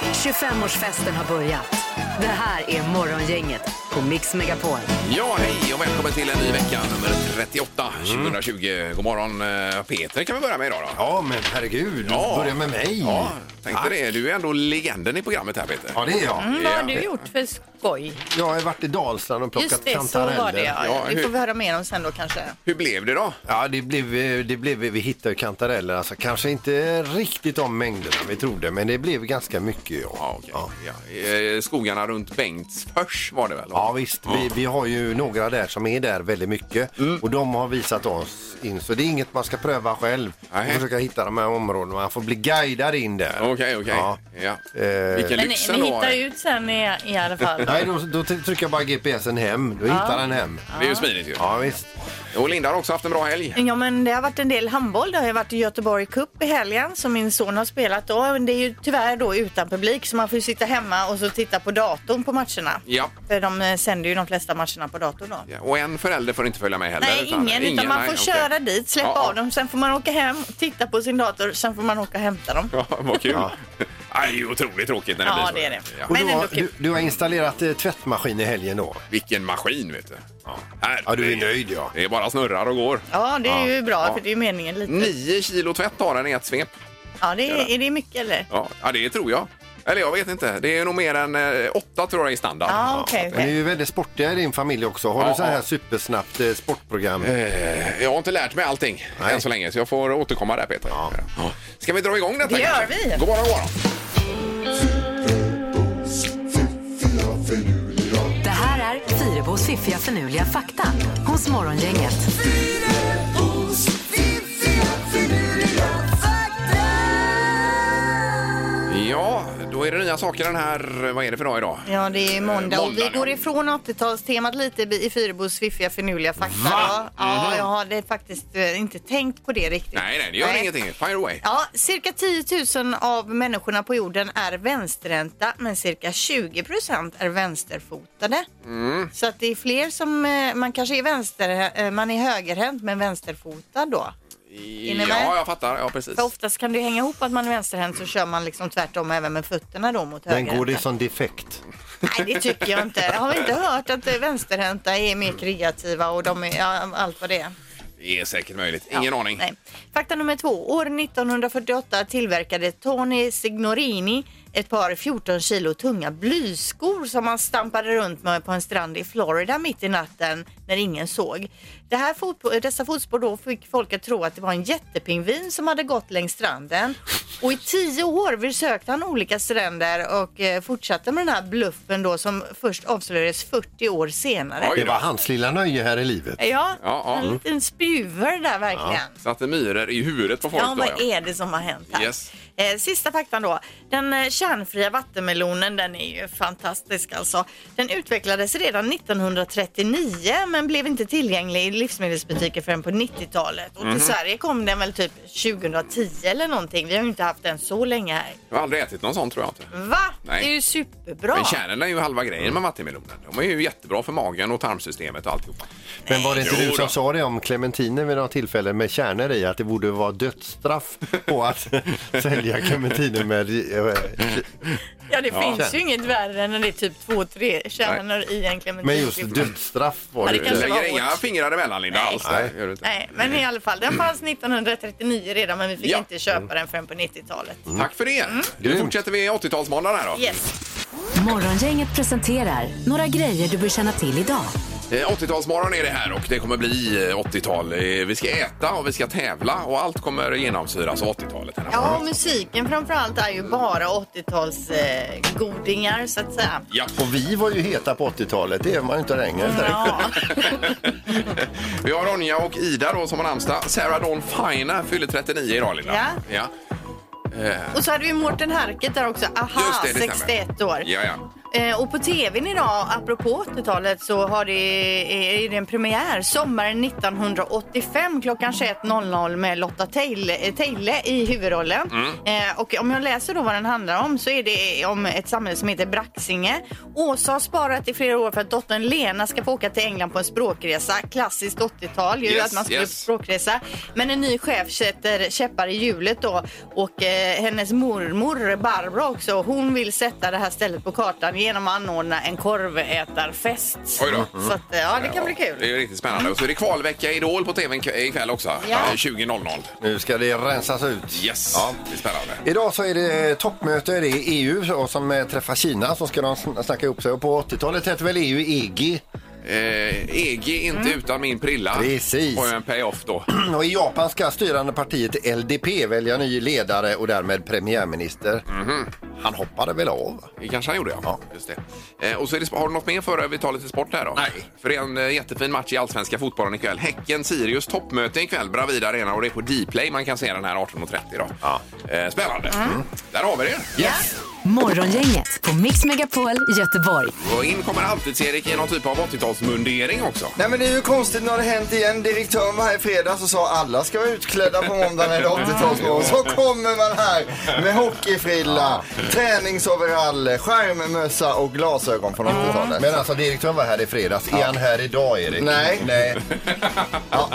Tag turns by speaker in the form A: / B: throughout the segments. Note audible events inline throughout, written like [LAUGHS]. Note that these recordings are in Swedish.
A: 25-årsfesten har börjat. Det här är Morgongänget på Mix Megapol.
B: Ja, hej och välkommen till en ny vecka, nummer 38, 2020. God morgon eh, Peter kan vi börja med idag då.
C: Mm. Ja, men herregud.
B: Ja.
C: Börja med mig.
B: Ja, tänkte det. Du är ändå legenden i programmet här Peter.
C: Ja, det är jag.
D: Mm, vad har du gjort för skoj?
C: Jag har varit i Dalsland och plockat
D: Just det, så var det ja.
B: Ja, hur-
D: Det får vi höra mer om sen då kanske.
B: Hur blev det då?
C: Ja, det blev, eh, det blev, vi hittade kantareller. Alltså, kanske inte riktigt de mängderna vi trodde, men det blev ganska mycket. Ja,
B: Ja, okej. Ja. eh, Skogarna runt Bengtsfors var det väl?
C: ja visst.
D: Mm.
C: Vi, vi har ju några där som är där väldigt mycket och de har visat oss in. Så det är inget man ska pröva själv. Man
B: Nej.
C: får försöka hitta de här områdena. Man får bli guidad in där.
B: Okej, okej.
C: Ja.
B: Ja.
C: Eh,
B: Vilken
D: Men ni,
B: lyx
D: ni
B: ändå.
D: hittar ut sen i, i alla
B: [LAUGHS]
D: fall.
C: Nej, då, då trycker jag bara GPSen hem. Då hittar den hem.
B: Det är ju smidigt ju.
C: Ja, visst.
B: Och Linda har också haft en bra helg.
D: Ja men det har varit en del handboll. Det har ju varit Göteborg Cup i helgen som min son har spelat då. Men det är ju tyvärr då utan publik så man får ju sitta hemma och så titta på datorn på matcherna.
B: Ja.
D: För de eh, sänder ju de flesta matcherna på datorn då.
B: Ja, Och en förälder får inte följa med heller?
D: Nej, ingen, utan man
B: nej,
D: får
B: okej.
D: köra dit, släppa
B: Ja, ja.
D: av dem, sen får man åka hem, titta på sin dator, sen får man åka och hämta dem.
B: [LAUGHS] Ja, vad kul. [LAUGHS] Ja. Det är ju otroligt tråkigt när det
D: Ja,
B: blir så.
D: det är det.
B: Ja.
C: Och
D: Men
C: du, har,
D: ändå kul.
C: du, du har installerat eh, tvättmaskin i helgen då?
B: Vilken maskin, vet du. Ja,
C: Ja, du är nöjd ja.
B: Det är bara snurrar och går.
D: Ja, det är ju bra,
B: ja.
D: för det är ju meningen lite.
B: Nio kilo tvätt har den i ett svep.
D: Ja, det är, är det mycket eller?
B: Ja, ja, det tror jag. Eller jag vet inte. Det är nog mer än eh, åtta tror jag i standard.
D: Ja, okej.
C: Men ni är ju väldigt sportiga i din familj också. Har
B: Ja,
C: du så här
B: ja.
C: supersnabbt eh, sportprogram?
B: Eh, Jag har inte lärt mig allting
C: Nej.
B: än så länge, så jag får återkomma där Peter. Ja. Ska vi dra igång detta?
D: Det gör
B: kanske?
D: vi.
B: God morgon, god morgon.
A: Det här är Fyrebos fiffiga förnuliga fakta hos Morgongänget.
B: Ja, då är det nya saker den här... Vad är det för dag idag?
D: Ja, det är måndag och vi
B: måndag,
D: går
B: ja.
D: ifrån 80-talstemat lite i Fyrebos fiffiga förnuliga fakta.
B: Va?
D: Ja, ja, jag hade faktiskt eh, inte tänkt på det riktigt.
B: Nej, nej, det gör ingenting. Fire away.
D: Ja, cirka 10 000 av människorna på jorden är vänsterhänta men cirka 20 procent är vänsterfotade.
B: Mm.
D: Så att det är fler som, eh, man kanske är vänster, eh, man är högerhänt men vänsterfotad då. ni med?
B: Ja, jag fattar. Ja, precis.
D: För oftast kan det ju hänga ihop att man är vänsterhänt så kör man liksom tvärtom även med fötterna då mot
C: Men går det
D: högerhänta.
C: som defekt?
D: Nej, det tycker jag inte. Jag har inte hört att eh, vänsterhänta är mer kreativa och de är, ja, allt vad det är.
B: Det är säkert möjligt. Ingen
D: Ja,
B: aning.
D: Nej. Fakta nummer två. År 1948 tillverkade Tony Signorini ett par 14 kilo tunga blyskor som han stampade runt med på en strand i Florida mitt i natten när ingen såg. Det här fotpo- dessa fotspår då fick folk att tro att det var en jättepingvin som hade gått längs stranden. Och i tio år besökte han olika stränder och eh, fortsatte med den här bluffen då som först avslöjades 40 år senare.
B: Oj
C: Det
B: då.
C: var hans lilla nöje här i livet.
D: Ja,
B: Ja, ja.
D: en liten spjuver där verkligen.
B: Satte myror i huvudet på folk
D: Ja,
B: då,
D: vad är det som har hänt här?
B: Yes.
D: Eh, sista faktan då. Den eh, kärnfria vattenmelonen, den är ju fantastisk alltså. Den utvecklades redan 1939 men blev inte tillgänglig i livsmedelsbutiker förrän på 90-talet. Och till Sverige kom den väl typ 2010 eller någonting. Vi har ju inte haft den så länge här.
B: Jag har aldrig ätit någon sån tror jag inte.
D: Va?
B: Nej.
D: Det är ju superbra.
B: Men kärnan är ju halva grejen med vattenmelonen. De är ju jättebra för magen och tarmsystemet och alltihopa.
C: Men var det inte
B: Jo
C: du
B: då.
C: som sa det om clementiner vid något tillfälle med kärnor i att det borde vara dödsstraff på att [LAUGHS] sälja clementiner med... eh,
D: Ja, det finns ju
C: Kärn.
D: inget värre än när det är typ två, tre kärnor i en clementin.
C: Men just dödsstraff var
D: Ja,
B: Du
D: det kanske
C: det.
B: lägger
D: var
B: inga
D: hårt.
B: fingrar emellan Linda
D: Nej.
B: alls. där.
C: Nej.
B: Gör du inte.
D: Nej, men i alla fall, den fanns 1939 redan men vi fick
B: Ja. Mm.
D: inte köpa den förrän på 90-talet.
B: Tack för det. Nu
C: Grymt.
B: fortsätter vi 80-talsmåndagen här då.
D: Mm. Yes.
A: Morgongänget presenterar några grejer du bör känna till idag.
B: Eh, 80-talsmorgon är det här och det kommer bli eh, 80-tal. Eh, Vi ska äta och vi ska tävla och allt kommer genomsyras av 80-talet. här.
D: Ja, och musiken framförallt är ju bara 80-talsgodingar så att säga.
B: Ja. [LAUGHS]
C: Och vi var ju heta på 80-talet, det är man ju inte längre.
D: Ja,
B: Vi har Ronja och Ida då som har namnsdag. Sarah Dawn Finer fyller 39 idag Linda.
D: Ja.
B: ja. Eh,
D: och så hade vi Mårten Harket där också. Aha,
B: Just det, det stämmer.
D: 61 år.
B: Ja, ja.
D: Eh, och på tvn idag, apropå 80-talet, så har det, eh, är det en premiär sommaren 1985 klockan 21.00 med Lotta Teil- eh, Teile i huvudrollen.
B: Mm.
D: Eh, och om jag läser då vad den handlar om så är det om ett samhälle som heter Braxinge. Åsa har sparat i flera år för att dottern Lena ska få åka till England på en språkresa. Klassiskt 80-tal ju,
B: Yes,
D: att man skulle
B: yes.
D: språkresa. Men en ny chef sätter käppar i hjulet då och eh, hennes mormor Barbro också, hon vill sätta det här stället på kartan genom att anordna en korvätarfest.
B: Oj då.
D: Så att, eh, ja, det kan bli
B: Det
D: kul.
B: är riktigt spännande. Och så är det kvalvecka i Idol på tv ikväll också. Eh,
D: Ja.
B: 20.00.
C: Nu ska det rensas ut.
B: Yes,
C: Ja.
B: det är spännande.
C: Idag så är det toppmöte i EU och som eh, träffar Kina så ska de sn- snacka ihop sig. Och på 80-talet hette väl E EU EG.
B: Eh, EG inte
D: Mm.
B: utan min prilla.
C: Precis.
B: Får jag en payoff då.
C: [CLEARS THROAT] Och I Japan ska styrande partiet LDP välja ny ledare och därmed premiärminister. Han hoppade väl av?
B: Det kanske han gjorde, ja.
C: Ja.
B: Just det. Eh, och så är det, har du något mer för vi tar lite sport här då?
C: Nej.
B: För det är en eh, jättefin match i allsvenska fotbollen ikväll. Häcken-Sirius toppmöte ikväll, Bravida Arena och det är på D-play man kan se den här 18.30 då.
C: Ja.
B: Eh, spännande.
D: Mm.
B: Där har vi det.
C: Yes!
A: Morgongänget på Mix Megapol Göteborg.
B: Och in kommer alltid erik i någon typ av 80-talsmundering också.
E: Nej men det är ju konstigt, nu har det hänt igen. Direktören var här i fredags och sa alla ska vara utklädda på måndagen eller
C: [LAUGHS]
E: 80-talsmorgon. Så kommer man här med hockeyfrilla, träningsoverall, skärmmössa och glasögon från 80-talet.
C: Men alltså direktören var här i fredags. Är han här idag Erik?
E: Nej.
C: Nej.
E: [LAUGHS] Ja.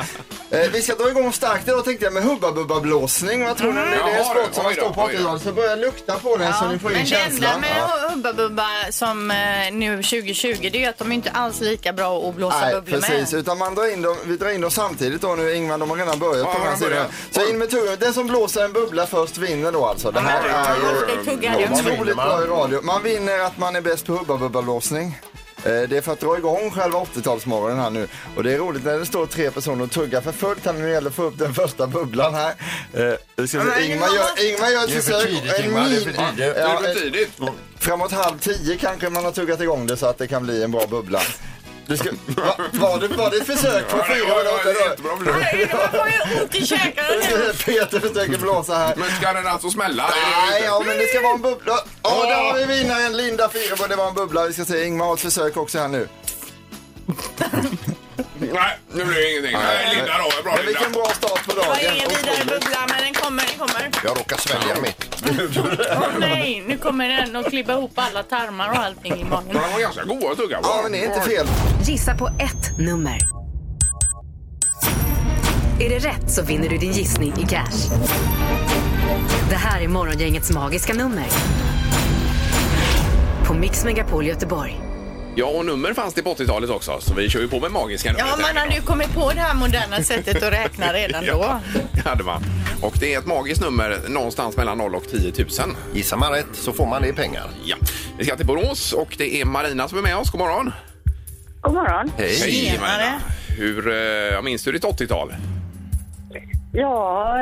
E: Eh, vi ska dra igång starkt idag tänkte jag med Hubba Bubba blåsning. Vad tror ni?
C: Mm.
E: Det är
B: Jaha,
E: en sport som
B: oj
E: man
B: då,
E: står på
B: oj då.
E: 80-talet. Så börja lukta på den så ni Alltså, får in
D: men det enda
E: känslan.
D: med Hubba Bubba som eh, nu 2020 det är ju att de är inte alls lika bra att blåsa
E: Nej,
D: bubblor
E: precis.
D: med.
E: Utan man drar in dem, vi drar in dem samtidigt då nu. Ingvar, de har redan börjat
B: Ja,
E: på den här
B: de börjar.
E: sidan. Så in med turen. Den som blåser en bubbla först vinner då alltså. Det här
D: Ja,
E: är
D: jag
E: ju
D: ska tugga den.
C: Vad vinner
E: otroligt
C: man?
E: bra i radio. Man vinner att man är bäst på Hubba Bubba blåsning. Eh, Det är för att dra igång själva 80-talsmorgonen här nu. Och det är roligt när det står tre personer och tuggar för fullt här när det gäller att få upp den första bubblan här. Eh, vi ska
D: Men
E: se. Ingmar gör, Ingmar gör ett
C: Det är för
E: försök.
C: tidigt,
E: En
C: Ingmar, det är för
E: min-
C: tidigt.
E: Ja,
B: det är
E: ett-
B: för tidigt.
E: Framåt halv tio kanske man har tuggat igång det så att det kan bli en bra bubbla. Du ska, va, var, det, var det ett försök på
B: Ja, det
E: fyra
B: var- det var
E: minuter? då?
B: jättebra försök.
D: Man får ju ont i käkarna nu.
E: Peter försöker blåsa här.
B: Men ska den alltså smälla?
E: Nej, ja, men det ska vara en bubbla. Ja, där har vi vinnaren Linda Fyrebo. Det var en bubbla. Vi ska se, Ingmar har ett försök också här nu.
B: Nej, nu blir det ingenting. Nej, Linda då. Bra
E: Men vilken
B: Linda.
E: bra start på
D: Det
E: dagen.
D: var ingen vidare bubbla men den kommer, den kommer.
C: Jag råkar svälja mitt.
D: Åh nej, nu kommer den att klibba ihop alla tarmar och allting i magen.
B: De var ganska goda att tugga på.
E: Ja, men det är inte fel.
A: Gissa på ett nummer. Är det rätt så vinner du din gissning i cash. Det här är Morgongängets magiska nummer. På Mix Megapol Göteborg.
B: Ja, och nummer fanns det på 80-talet också, så vi kör ju på med magiska nummer.
D: Ja, man hade ju kommit på det här moderna sättet att
B: [LAUGHS]
D: räkna redan då.
B: Det hade man. Och det är ett magiskt nummer någonstans mellan 0 och 10 000.
C: Gissar man rätt så får man det i pengar.
B: Ja. Vi ska till Borås och det är Marina som är med oss. God morgon!
F: God morgon.
C: Hej!
B: Hej
D: Tjenare.
B: Marina! Hur, eh, jag minns du ditt 80-tal?
F: Ja,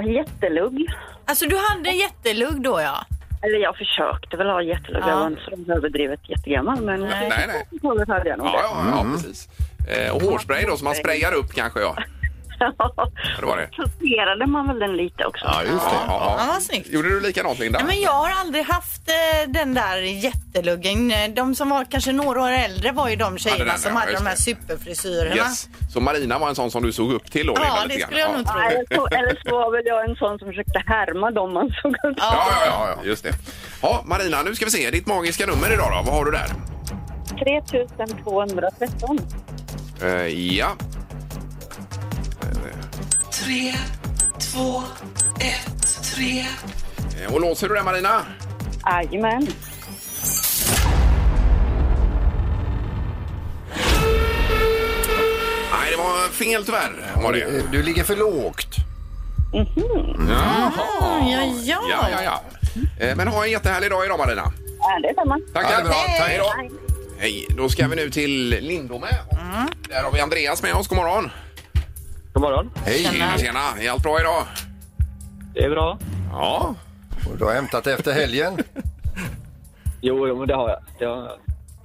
F: eh, jättelugg.
D: Alltså du hade en jättelugg då ja.
F: Eller jag försökte väl ha jättelugg.
D: Ja.
F: Jag var inte så överdrivet jättegammal. Men eh,
B: Nej, nej.
F: Talet hade jag nog
B: Ja, ja, ja precis. Eh, Och hårspray då, som man sprayar upp kanske, ja. Det var det.
F: Sorterade man väl den lite också?
C: Ja, just det.
D: Ja, vad snyggt.
B: Gjorde du likadant, Linda?
D: Nej, men jag har aldrig haft eh, den där jätteluggen. Eh, De som var kanske några år äldre var ju de tjejerna
B: Hade den,
D: som
B: ja,
D: hade
B: just
D: de här
B: det.
D: superfrisyrerna.
B: Yes. Så Marina var en sån som du såg upp till då? Linda,
D: Ja,
B: lite
D: det
B: grann.
D: skulle jag
B: Ja.
D: nog tro.
F: Nej, jag tror- eller så var väl jag en sån som försökte härma dem man såg upp till.
B: Ja, ja, ja, ja, just det. Ja, Marina, nu ska vi se. Ditt magiska nummer idag då, vad har du där?
F: 3213.
B: Eh, ja.
G: Tre, två, ett, tre.
B: Eh, Och låser du det Marina?
F: Jajamän.
B: Nej, det var fel tyvärr. Var det.
C: Du ligger för lågt.
D: Mhm. Ja, ja, ja.
B: Ja, ja, ja. Eh, Men ha en jättehärlig dag idag Marina.
F: Ja, det är samma.
B: Tack,
C: Ja, det är bra.
B: Tack.
C: Tack.
B: Hej då. Hej, då ska vi nu till Lindome.
D: Mm.
B: Och Där har vi Andreas med oss. God morgon.
H: God morgon.
C: Hej!
B: Tjena. Tjena. Är allt bra idag?
H: Det är bra.
B: Ja.
C: Och Du har hämtat efter helgen.
H: Jo, jo men det har jag. Det har,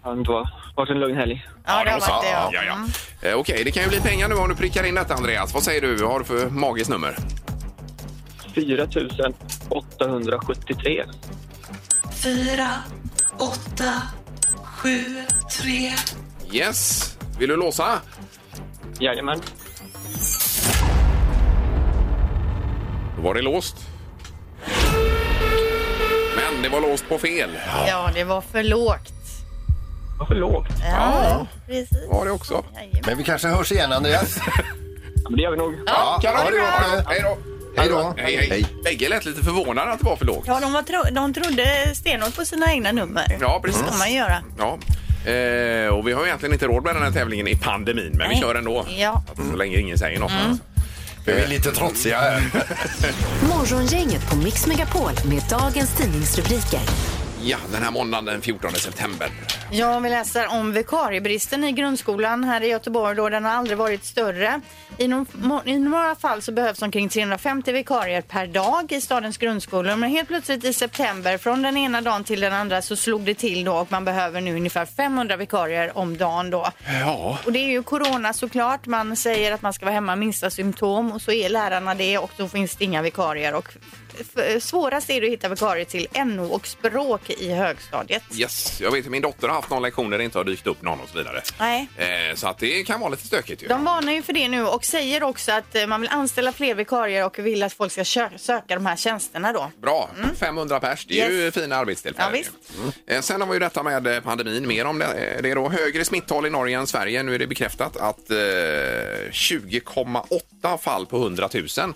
H: har inte varit, varit en lugn helg.
D: Ja, det har
B: då så.
D: varit det
B: ja.
D: ja. Mm.
B: ja, ja. Eh, Okej, det kan ju bli pengar nu om du prickar in detta Andreas. Vad säger du? Vad har du för magiskt nummer?
H: 4 873.
G: Fyra, åtta, sju, tre.
B: Yes. Vill du låsa?
H: Jajamän.
B: Då var det låst. Men det var låst på fel.
D: Ja, det var för lågt.
H: Varför lågt?
D: Ja, precis.
B: Var det också.
D: Jajamän.
C: Men vi kanske hörs igen, Andreas.
H: Ja, men det gör vi nog.
B: Ja,
C: ha
B: ha
C: det bra.
B: bra. Hej då.
C: Hej då.
B: Hej, hej. Bägge lät lite förvånade att det var för lågt.
D: Ja, de, var tro- de trodde stenhårt på sina egna nummer.
B: Ja, precis.
D: Det ska man göra.
B: Ja. Eh, och vi har ju egentligen inte råd med den här tävlingen i pandemin, men vi
D: Nej.
B: kör ändå.
D: Ja. Mm.
B: Så länge ingen säger något. Alltså.
C: Vi är lite trotsiga här.
A: Morgongänget på Mix Megapol med dagens tidningsrubriker.
B: Ja, den här måndagen den 14 september.
D: Ja, vi läser om vikariebristen i grundskolan här i Göteborg. Då den har aldrig varit större. I, no I några fall så behövs omkring 350 vikarier per dag i stadens grundskolor. Men helt plötsligt i september, från den ena dagen till den andra, så slog det till då och man behöver nu ungefär 500 vikarier om dagen då.
B: Ja.
D: Och det är ju corona såklart. Man säger att man ska vara hemma minsta symptom och så är lärarna det och då finns det inga vikarier. Och f- svårast är det att hitta vikarier till NO och språk i högstadiet.
B: Yes, jag vet att min dotter har haft någon lektion där det inte har dykt upp någon och så vidare.
D: Nej.
B: Eh, så att det kan vara lite stökigt ju.
D: De varnar ju för det nu och säger också att eh, man vill anställa fler vikarier och vill att folk ska kö- söka de här tjänsterna då.
B: Bra, 500 pers. Det är ju fina arbetstillfällen.
D: Mm. Ja, visst.
B: ju. Eh, Sen har vi ju detta med eh, pandemin. Mer om det. Eh, Det är då högre smittal i Norge än Sverige. Nu är det bekräftat att eh, 20,8 fall på 100 000 eh,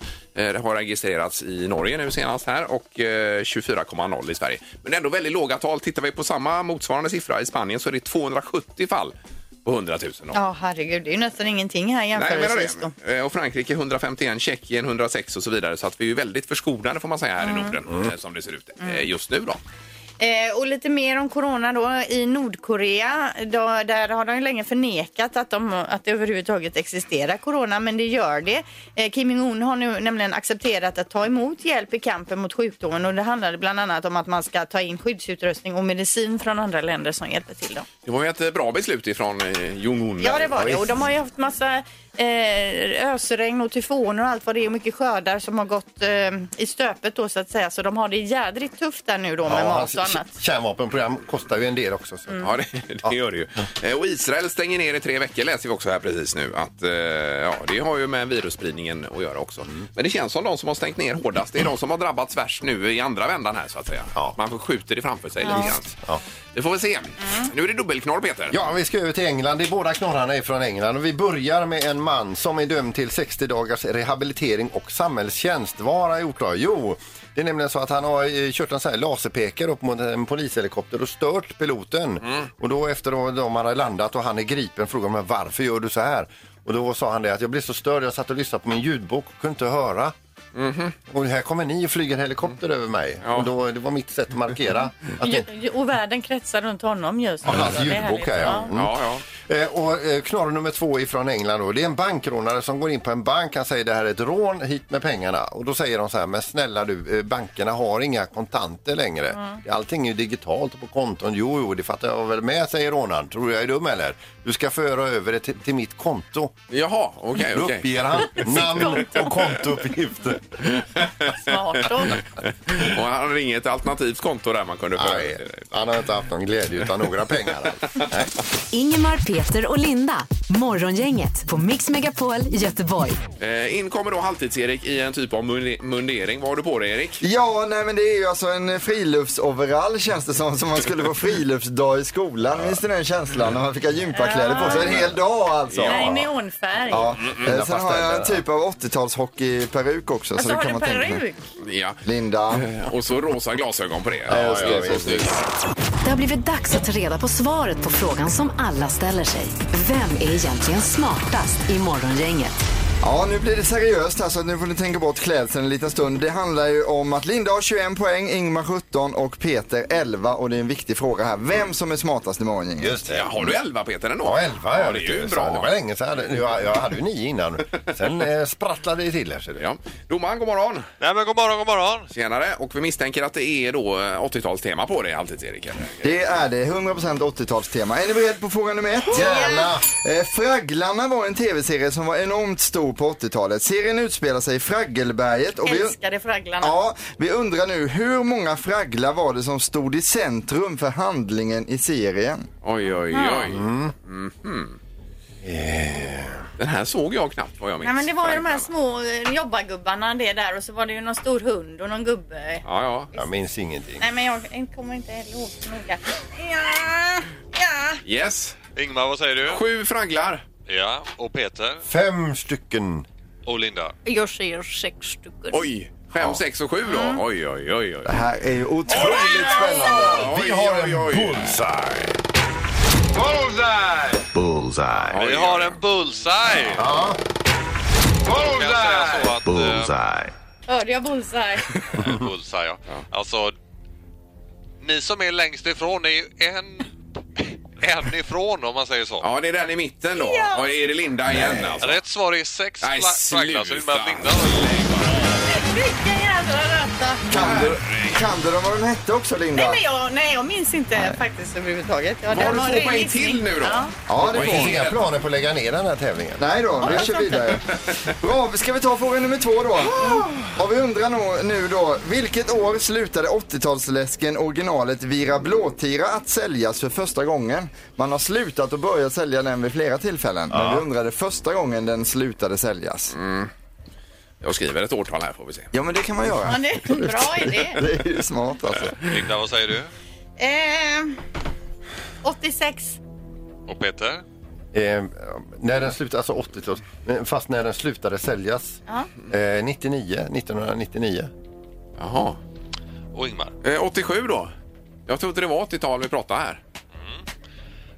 B: det har registrerats i Norge nu senast här och eh, 24,0 i Sverige. Men ändå väldigt låga tal. Tittar vi på samma motsvarande siffra i Spanien så är det 270 fall på 100 000. då.
D: Ja, herregud, det är ju nästan ingenting här
B: Nej, jag menar
D: jämförelsevis då.
B: det. Eh, Och Frankrike 151, Tjeckien 106 och så vidare. Så att vi är ju väldigt förskonade får man säga här i Norden eh, som det ser ut eh, just nu då.
D: Eh, och lite mer om corona då. I Nordkorea, då, där har de ju länge förnekat att, de, att det överhuvudtaget existerar corona, men det gör det. Eh, Kim Jong-Un har nu nämligen accepterat att ta emot hjälp i kampen mot sjukdomen och det handlar bland annat om att man ska ta in skyddsutrustning och medicin från andra länder som hjälper till. Då.
B: Det var ju ett eh, bra beslut ifrån eh, Jong-Un.
D: Ja,
B: där.
D: det var det. Och de har ju haft massa eh, ösregn och tyfoner och allt vad det är och mycket skördar som har gått eh, i stöpet då så att säga. Så de har det jädrigt tufft där nu då med mat
C: alltså,
D: och annat.
C: Kärnvapenprogram kostar ju en del också. Så.
B: Ja, det, [LAUGHS] det gör det ju. Eh, Och Israel stänger ner i tre veckor läser vi också här precis nu. Att, eh, ja, det har ju med virusspridningen att göra också. Men det känns som de som har stängt ner hårdast, det är de som har drabbats värst nu i andra vändan här så att säga.
C: Ja.
B: Man får skjuter det framför sig lite grann.
C: Ja.
B: Vi får väl se. Nu är det dubbelknorr Peter.
C: Ja, vi ska över till England. Det är båda knorrarna är från England. Och vi börjar med en man som är dömd till 60 dagars rehabilitering och samhällstjänst. Vad har han gjort då? Jo, det är nämligen så att han har eh, kört en sån här laserpekare upp mot en polishelikopter och stört piloten. Och då efter att de hade landat och han är gripen frågar man varför gör du så här? Och då sa han det att jag blev så störd, jag satt och lyssnade på min ljudbok och kunde inte höra. Och här kommer ni och flyger helikopter över mig.
B: Ja.
C: Och då, det var mitt sätt att markera. Att det,
D: Ju- Och världen kretsar runt honom just nu.
C: Ja, hans
D: Det är
C: ljudbok
D: härligt.
C: här, ja. Mm.
B: Ja, ja.
C: Eh, Och eh, knorr nummer två är från England. Då. Det är en bankrånare som går in på en bank. Han säger det här är ett rån, hit med pengarna. Och då säger de så här, men snälla du, eh, bankerna har inga kontanter längre. Allting är ju digitalt på konton. Jo, jo, det fattar jag väl med, säger rånaren. Tror du jag är dum eller? Du ska föra över det till, till mitt konto.
B: Jaha, okej.
C: Då
B: Eh, okej.
C: uppger han namn och kontouppgifter.
D: Smart då.
E: [LAUGHS]
B: Och han ringer ett alternativt konto där man kunde få
C: Nej, han har inte haft någon glädje utan några pengar alltså. alls. Nej.
A: Ingemar, Peter och Linda. Morgongänget på Mix Megapol Göteborg.
B: Eh, In kommer då Halvtids-Erik i en typ av mun- mundering. Vad har du på dig Erik?
E: Ja, nej men det är ju alltså en friluftsoverall känns det som, som man skulle på friluftsdag i skolan. Minns ni den känslan när man fick ha gympakläder på sig en hel dag alltså?
D: Nej, neonfärg.
E: Ja.
C: Fina
E: Eh, Sen har jag en
C: pasteller.
E: typ av 80-talshockeyperuk också.
D: Alltså
E: så det
D: har
E: kan
D: du
E: man tänka sig.
D: peruk?
B: Ja.
E: Linda.
B: Och så rosa glasögon på det.
E: Ja, just det,
B: Ja,
E: just det.
B: så snyggt.
A: Det har blivit dags att ta reda på svaret på frågan som alla ställer sig. Vem är egentligen smartast i Morgongänget?
E: Ja, nu blir det seriöst här så att nu får ni tänka bort klädseln en liten stund. Det handlar ju om att Linda har 21 poäng, Ingmar 17 och Peter 11 och det är en viktig fråga här. Vem som är smartast i morgon?
C: Just det.
B: Ja, har du 11 Peter ändå?
C: Ja, 11 ja,
B: ja, det är ju
C: Så Det var
B: bra.
C: länge sedan. Jag, jag hade ju 9 innan. Sen eh, sprattlade det till här. ser du.
B: Ja. Domaren, god morgon!
I: Nej men god morgon, god morgon.
B: Tjenare! Och vi misstänker att det är då eh, 80-talstema på dig, Halvtids-Erik. eller?
E: Det är det, 100% 80-talstema. Är ni beredda på fråga nummer ett?
C: Gärna!
E: Eh, Fragglarna var en tv-serie som var enormt stor drog på 80-talet. Serien utspelar sig i Fraggelberget. Och vi,
D: Älskade fragglarna.
E: ja, vi undrar nu hur många fragglar var det som stod i centrum för handlingen i serien?
B: Oj, oj, oj. Mhm.
C: Eh.
B: Den här såg jag knappt vad jag minns.
D: Nej, men det var ju de här små eh, jobbargubbarna det där och så var det ju någon stor hund och någon gubbe.
B: Ja, ja.
C: Jag minns ingenting.
D: Nej, men jag kommer inte ihåg så noga. Ja, ja.
B: Yes.
I: Ingmar, vad säger du?
B: Sju fragglar.
I: Ja, och Peter
C: Fem stycken.
I: och Linda.
J: Jag säger sex stycken.
B: Oj. Fem, sex och sju då.
E: Mm.
B: Oj, oj, oj. oj.
E: Det här är ju otroligt spännande.
C: Vi har en
B: bullseye.
I: Bullseye!
K: Bullseye.
I: Vi har en bullseye!
C: Ja.
I: Kan jag säga så att, eh,
K: Bullseye.
D: Hörde jag bullseye?
I: Bullseye, ja. Alltså, ni som är längst ifrån är ju en, en ifrån om man säger så.
B: Ja, det är den i mitten då. Och är det Linda igen alltså?
I: Rätt svar är sex
B: Nej,
I: fla- flagglar, så det innebär att Linda
D: [LAUGHS] Vilken jävla röta!
E: Kan du, kan du vad den hette också
D: Nej,
E: Linda?
D: men jag, nej, jag minns inte faktiskt överhuvudtaget. Ja,
B: Var
D: den
B: du
D: var
B: två
D: ren
B: poäng
D: gissning.
B: till nu då?
D: Ja.
E: Ja, det
C: Det
E: får
C: finns inga planer på att lägga ner den här tävlingen.
E: Nej då, vi kör vidare. Bra, ska vi ta fråga nummer två då? Och vi undrar nog nu då, vilket år slutade 80-talsläsken originalet Vira Blåtira att säljas för första gången? Man har slutat och börjat sälja den vid flera tillfällen, men vi undrade första gången den slutade säljas.
C: Mm.
B: Jag skriver ett årtal här får vi se.
E: Ja, men det kan man göra.
D: Ja, det är en bra idé.
E: [LAUGHS] Det är ju smart alltså.
I: vinner. Linda, vad säger du?
D: Eh, 86.
I: Och Peter?
C: Eh, när den slutade, alltså 80 fast när den slutade säljas. Eh, 99, 1999.
B: Jaha.
I: Och Ingmar?
B: Eh, 87 då? Jag trodde det var 80-tal vi pratade här.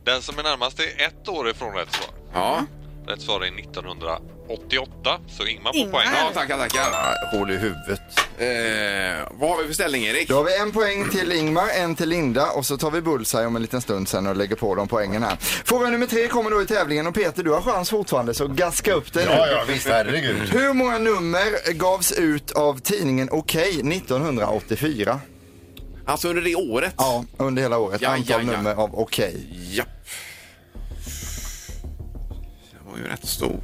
I: Den som är närmast är ett år ifrån rätt svar.
B: Ja,
D: Mm.
I: Rätt svar är 1988, så Ingmar får
D: Ingmar.
I: poäng.
B: ja tackar, tackar.
C: Hål i huvudet.
B: Eh, vad har vi för ställning, Erik?
E: Då har vi en poäng till Ingmar, en till Linda och så tar vi bullseye om en liten stund sen och lägger på de poängen här. Fråga nummer tre kommer då i tävlingen och Peter du har chans fortfarande så gaska upp dig nu.
C: Ja, ja, visst. Herregud.
E: Hur många nummer gavs ut av tidningen Okej 1984?
B: Alltså under det året?
E: Ja, under hela året.
B: Ja,
E: Antal
B: ja, ja.
E: nummer av Eh, Okej.
B: Japp. Den var ju rätt stor.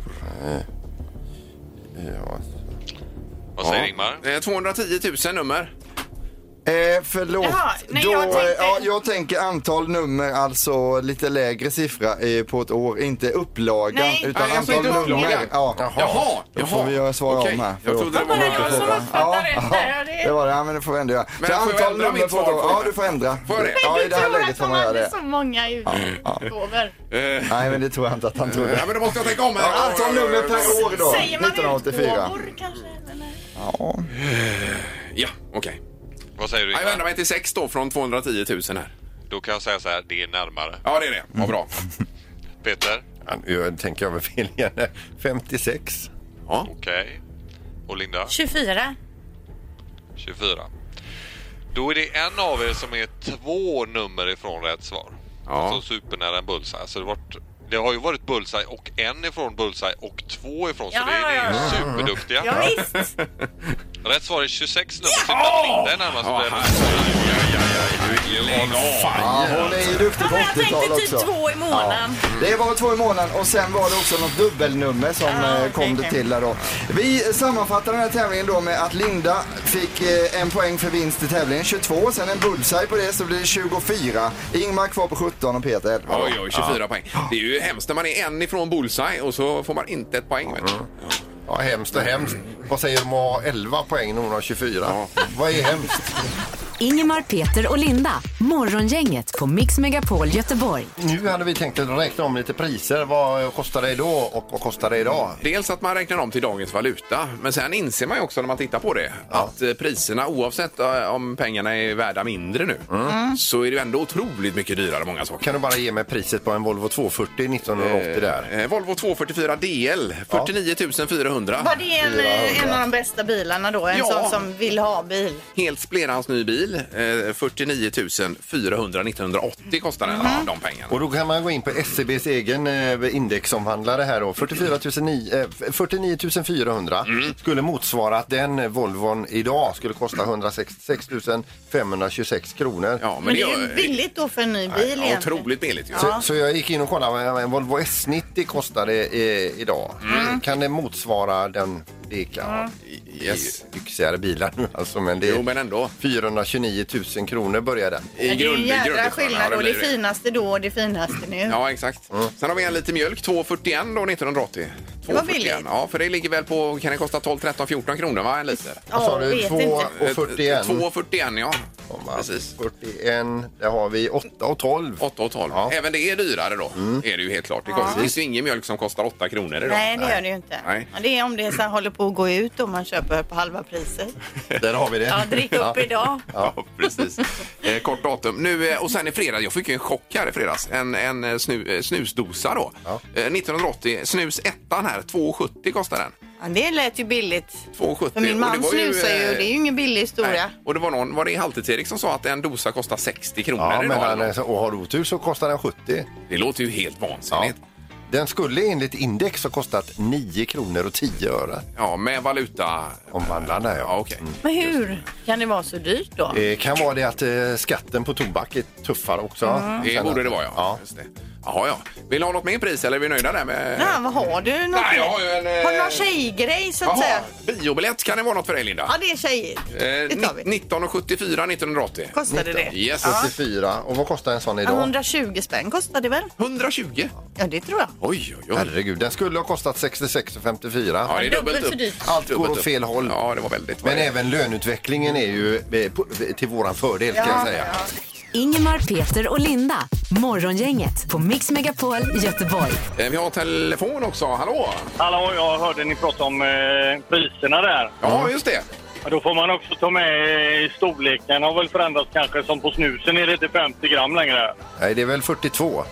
C: Ja.
I: Vad säger Ingmar?
B: Eh, 210 000 nummer.
E: Eh, förlåt.
D: Jaha, nej, jag
E: eh,
D: tänkte-
E: ja, jag tänker antal nummer, alltså lite lägre siffra eh, på ett år. Inte upplaga,
D: Nej.
E: utan
B: Nej, alltså
E: antal
B: inte upplaga.
E: nummer. Ja.
B: Jaha. Jaha.
E: Då får vi göra svara
B: Okej.
E: om här.
B: Jag trodde det
D: Var
B: var
D: det
B: någon
D: jag som
B: fråga.
D: uppfattade rätt där?
E: Det
D: Alltså, Det-
E: var det, ja, men det får vi ändå göra.
B: Men
E: Så
B: får jag
E: antal
B: ändra
E: nummer
B: mitt
E: på
B: svar
E: då?
B: på
E: Ja,
B: det?
E: du får ändra.
B: Får jag det?
E: Ja, i
D: Du
E: det här
D: tror
E: läget
D: att liksom-
E: får
D: de
E: man göra
D: hade
E: det.
D: så många utgåvor.
B: Eh,
E: Nej, men det tror jag inte att han trodde.
B: ja, men då måste jag tänka om här.
E: Ja, antal nummer per år då,
D: Säger man
E: 1984.
D: utgåvor kanske? Eller?
B: Ja, okej.
I: Vad säger du
B: Nej, Jag vänder
I: Ingmar?
B: mig till 6 då från 210 000 här.
I: Då kan jag säga så här, det är närmare.
B: Ja, det är det. Vad bra.
I: Peter?
C: Ja, nu tänker jag väl fel igen. 56.
I: Okej. Och Linda?
D: 24.
I: 24. Då är det en av er som är två nummer ifrån rätt svar.
B: Ja.
I: Så supernära en bullseye. Så det, har varit, det har ju varit bullseye och en ifrån bullseye och två ifrån. Så
D: Ja,
I: det, det är
D: ja,
I: ju
D: ja.
I: superduktiga.
D: Ja, visst.
I: Rätt svar är 26 nummer. Så där Linda är närmast.
B: Ja,
I: där.
E: Ja, hon är ju duktig
D: Ja,
E: på
D: men jag
E: 80-tal
D: tänkte typ
E: också.
D: två i månaden.
E: Det var två i månaden och sen var det också något dubbelnummer som
D: Ah,
E: eh,
D: okej,
E: kom det
D: okej.
E: till där då. Vi sammanfattar den här tävlingen då med att Linda fick eh, en poäng för vinst i tävlingen, 22. Sen en bullseye på det så blir det 24. Ingmar kvar på 17 och Peter 11. då.
B: Oj, oj, 24 poäng. Det är ju hemskt när man är en ifrån bullseye och så får man inte ett poäng. Vet du.
C: Ja, hemskt och hemskt. Vad säger de om att ha 11 poäng när hon har 24? Vad är hemskt?
A: Ingemar, Peter och Linda. Morgongänget på Mix Megapol Göteborg.
C: Nu hade vi tänkt att räkna om lite priser. Vad kostar det då och vad kostar det idag?
B: Dels att man räknar om till dagens valuta, men sen inser man ju också när man tittar på det att eh, priserna, oavsett eh, om pengarna är värda mindre nu,
C: Mm.
B: så är det ju ändå otroligt mycket dyrare många saker.
C: Kan du bara ge mig priset på en Volvo 240 1980 där?
B: Eh, Volvo 244 DL, 49 400.
D: Var det en, eh, en av de bästa bilarna då? En
B: Ja.
D: sån som vill ha bil?
B: Helt splendans ny bil. bil. Eh, 49 400 1980 kostade den,
D: Mhm.
B: de pengarna.
C: Och då kan man gå in på SCBs egen eh, indexomhandlare här då. 44 9, eh, 49 400
B: Mm.
C: skulle motsvara att den Volvon idag skulle kosta 166 526 kronor.
B: Ja, men,
D: Men det
B: gör-
D: är ju billigt då för en ny bil
B: Ja,
D: egentligen.
B: otroligt billigt ju.
C: Så, så jag gick in och kollade vad en Volvo S90 kostade eh, idag.
D: Mm.
C: Kan det motsvara den? Det kan.
B: Yes.
C: Det är ju Yxigare bilar nu alltså, men det är
B: Jo, men ändå.
C: 429 000 kronor börjar den.
B: I
D: Ja, det är en
B: grund-
D: jädra
B: grundutförande, ja,
D: skillnad
B: det
D: på det
B: blir det.
D: finaste då och det finaste nu.
B: Ja, exakt. Sen har vi en liten mjölk, 2,41 då 1980.
D: Det var
B: 2,41.
D: billigt.
B: Ja, för det ligger väl på, kan det kosta 12, 13, 14 kronor va, en liter?
C: Vad sa
D: Ja,
C: du?
D: vet
C: Två
D: inte.
C: och 41.
B: 2,41 ja.
C: Komma.
B: Eh, Precis.
C: 41, där har vi 8 och 12.
B: 8 och 12.
C: Ja.
B: Även det är dyrare då, är det ju helt klart. Det kostar- det finns ju ingen mjölk som kostar 8 kronor idag.
D: Mm. Nej, det gör det ju inte.
B: Nej.
D: Ja, det är om det sen håller på att gå ut och man köper på halva priset.
C: Där har vi det.
D: [LAUGHS] Ja, drick upp idag.
B: Ja, precis. Eh, kort datum. Nu, eh, och sen i fredags, jag fick ju en chock här i fredags. En, en eh, snu, eh, snusdosa då.
C: Ja.
B: Eh, 1980, snus ettan här, 2,70 kostar den.
D: Ja, det lät ju billigt.
B: 2,70.
D: För min
B: Och det
D: man
B: var
D: snusar ju
B: eh,
D: och det är ju ingen billig historia.
B: nej. Och det var någon, var det Halvtids-Erik som sa att en dosa kostar 60 kronor
C: Ja, men
B: idag?
C: han, är så- och har du otur så kostar den 70.
B: Det låter ju helt
C: Ja.
B: vansinnigt. Ja.
C: Den skulle enligt index ha kostat 9 kronor och 10 öre.
B: med valuta...
C: Omvandlarna, ja. Mm.
B: Ja, okej.
D: Men hur kan det vara så dyrt då?
B: Eh,
C: Det kan vara det att eh, skatten på tobak är tuffare också.
B: Det
D: Mm.
C: Sen-
B: borde det vara, ja.
C: ja.
B: Just det. Jaha, ja. Vill du ha något mer pris eller är vi nöjda där med...
D: Ja, vad har du? Något?
B: Nej, jag har ju en... eh,
D: Har du någon tjejgrej så att
B: Jaha,
D: säga?
B: biobiljett kan det vara något för dig, Linda?
D: Ja, det är tjejigt.
B: Eh,
D: det tar vi.
B: 1974 1980.
D: Kostade det?
B: Yes.
D: Ja.
C: 74. Och vad kostar en sån
D: Ja,
C: idag?
D: 120 spänn kostade det väl?
B: 120.
D: Ja, det tror jag.
B: Oj, oj, oj.
C: Herregud, den skulle ha kostat 66,54.
B: Ja, det är
J: Dubbelt
B: dubbelt
J: så
B: upp.
J: dyrt.
C: Allt går
B: Dubbelt
C: åt
B: upp.
C: fel håll.
B: Ja, det var väldigt.
C: Men även löneutvecklingen är ju eh, på- till våran fördel kan jag säga.
A: Ingemar, Peter och Linda. Morgongänget på Mix Megapol Göteborg.
B: Eh, Vi har telefon också. Hallå!
H: Hallå, jag hörde ni prata om eh, priserna där.
B: Ja, just det.
H: Ja, Då får man också ta med eh, storleken har väl förändrats kanske. Som på snusen är det inte 50 gram längre.
C: Nej, det är väl 42.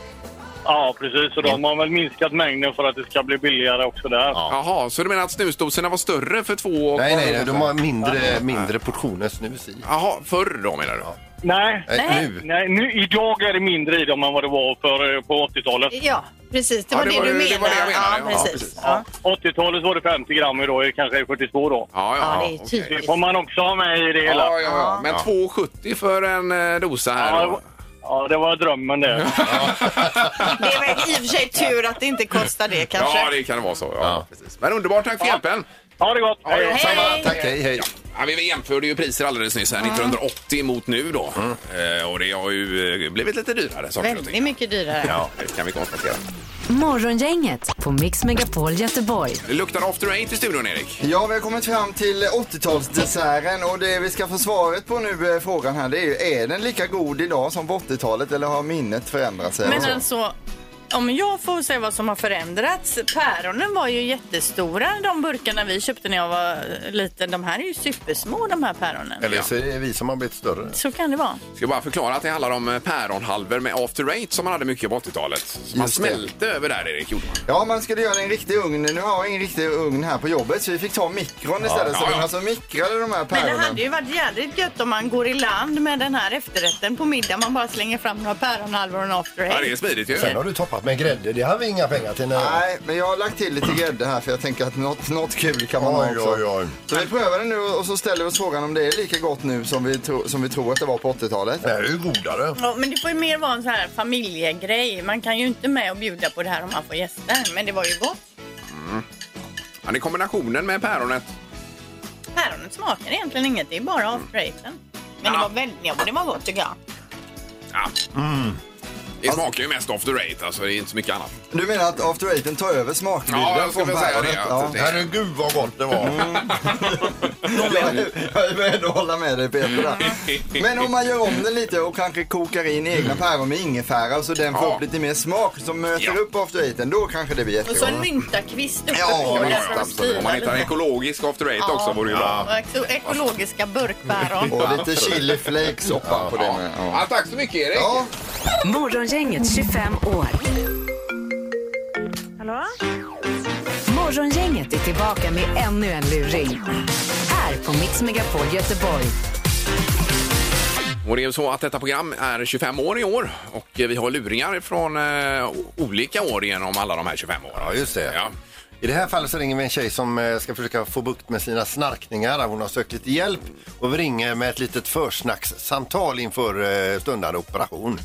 H: Ja, precis. Så då har man väl minskat mängden för att det ska bli billigare också där.
B: Jaha, så du menar att snusdoserna var större för två och...
C: Nej, nej, nej, de har mindre, mindre portioner snus i.
B: Jaha, förr då menar du?
H: Nej.
C: Nej, nu.
H: Nej, nu, idag är det mindre i dem än vad det var för, eh, på 80-talet.
D: Ja, precis. Det
B: Ja,
D: var
B: det
D: det,
B: var-
D: du
B: det
D: menade.
B: var det jag menade, ja.
D: Ja,
B: Ja,
D: precis.
B: precis.
D: Ja.
H: 80-talet var det 50 gram idag, är det kanske är 42 då.
B: Ja,
D: Ja, det är typ-
B: okej.
H: Det
D: typiskt.
H: får man också ha med i det hela.
B: Ja, ja, ja. Men 2,70 för en eh, dosa här
H: Ja, det
B: då.
H: var- Ja, det var drömmen det.
D: Det är väl i och för sig tur att det inte kostar det kanske.
B: Ja, det kan vara så. Ja, Precis. Men underbart, tack för hjälpen!
H: Ha det gott!
B: Ja, ja, samma.
C: Tack, hej, hej.
B: Ja, vi jämförde ju priser alldeles nyss här, 1980 mot nu då.
C: Mm.
B: Eh, och det har ju eh, blivit lite dyrare saker och
D: Väldigt
B: ting.
D: mycket dyrare.
B: Ja, det kan vi konstatera.
A: Morgongänget på Mix Megapol Göteborg.
B: Det luktar After Eight i studion, Erik.
E: Ja, vi har kommit fram till 80-talsdesserten och det vi ska få svaret på nu, eh, frågan här, det är ju är den lika god idag som på 80-talet eller har minnet förändrat sig?
J: Men
E: eller så?
J: alltså, om jag får säga vad som har förändrats. Päronen var ju jättestora, de burkarna vi köpte när jag var liten. De här är ju supersmå, de här päronen.
C: Eller så är det vi som har blivit större.
J: Så kan det vara.
B: Ska bara förklara att det handlar om eh, päronhalvor med After Eight som man hade mycket på 80-talet. Så Man
E: Just det.
B: smälte över där, Erik. Gjorde man.
E: Ja, man skulle göra en riktig ugn. Nu har jag ingen riktig ugn här på jobbet så vi fick ta mikron istället. så
B: ja,
E: ja.
B: ja.
E: alltså mikrade de här
J: Men
E: päronen.
J: det hade ju varit jädrigt gött om man går i land med den här efterrätten på middag. Man bara slänger fram några päronhalvor och en after
B: Ja, det är
J: eight.
B: smidigt ju.
C: Sen har du toppat med grädde. Det har vi inga pengar till.
E: Nej, men jag har lagt till lite grädde här för jag tänker att något, något kul kan man ha
C: Oj,
E: också.
C: oj, oj.
E: Så vi prövar det nu och så ställer vi oss frågan om det är lika gott nu som vi, tro, som vi tror att det var på 80-talet.
C: Det här är ju godare.
J: Ja, men det får ju mer vara en sån här familjegrej. Man kan ju inte med och bjuda på det här om man får gäster. Men det var ju gott.
B: Ja, det är kombinationen med päronet.
J: Päronet smakar egentligen inget, det är bara after eighten. Men det var väldigt, Mm. ja, men det var gott tycker jag.
B: Ja. Mm. Det smakar ju mest After Eight, alltså. Det är inte så mycket annat.
E: Du menar att After Eighten tar över smakbilden
B: Ja, jag skulle
E: från
B: vilja säga
E: päronet?
B: det, att det-
C: Herregud vad gott det var.
E: Ja. Jag är beredd att hålla med dig Peter där. Men om man gör om den lite och kanske kokar in egna päron med ingefära så den får
B: Ja.
E: upp lite mer smak som möter
B: Ja.
E: upp After Eighten, då kanske det blir
J: Och så
E: jättegott.
J: en myntakvist uppe
E: Ja,
J: på.
E: ja,
J: där
E: ja,
J: för att
B: Absolut. Om
J: styra
B: man hittar
J: lite.
B: ekologisk After Eight också vore ju bra.
J: Ja, och ekologiska [LAUGHS] burkpäron.
E: Och lite chili flakes ovanpå det
B: Ja.
E: med. Ja.
B: tack så mycket, Erik.
E: Ja,
A: Morgongänget 25 år.
F: Hallå?
A: Morgongänget är tillbaka med ännu en luring. Här på Mix Megapol Göteborg.
B: Och det är ju så att detta program är 25 år i år och eh, vi har luringar från eh, olika år genom alla de här 25 åren.
C: Ja, just det.
B: Ja.
C: I det här fallet så ringer vi en tjej som eh, ska försöka få bukt med sina snarkningar. Hon har sökt lite hjälp och vi ringer med ett litet försnackssamtal inför eh, stundande operation.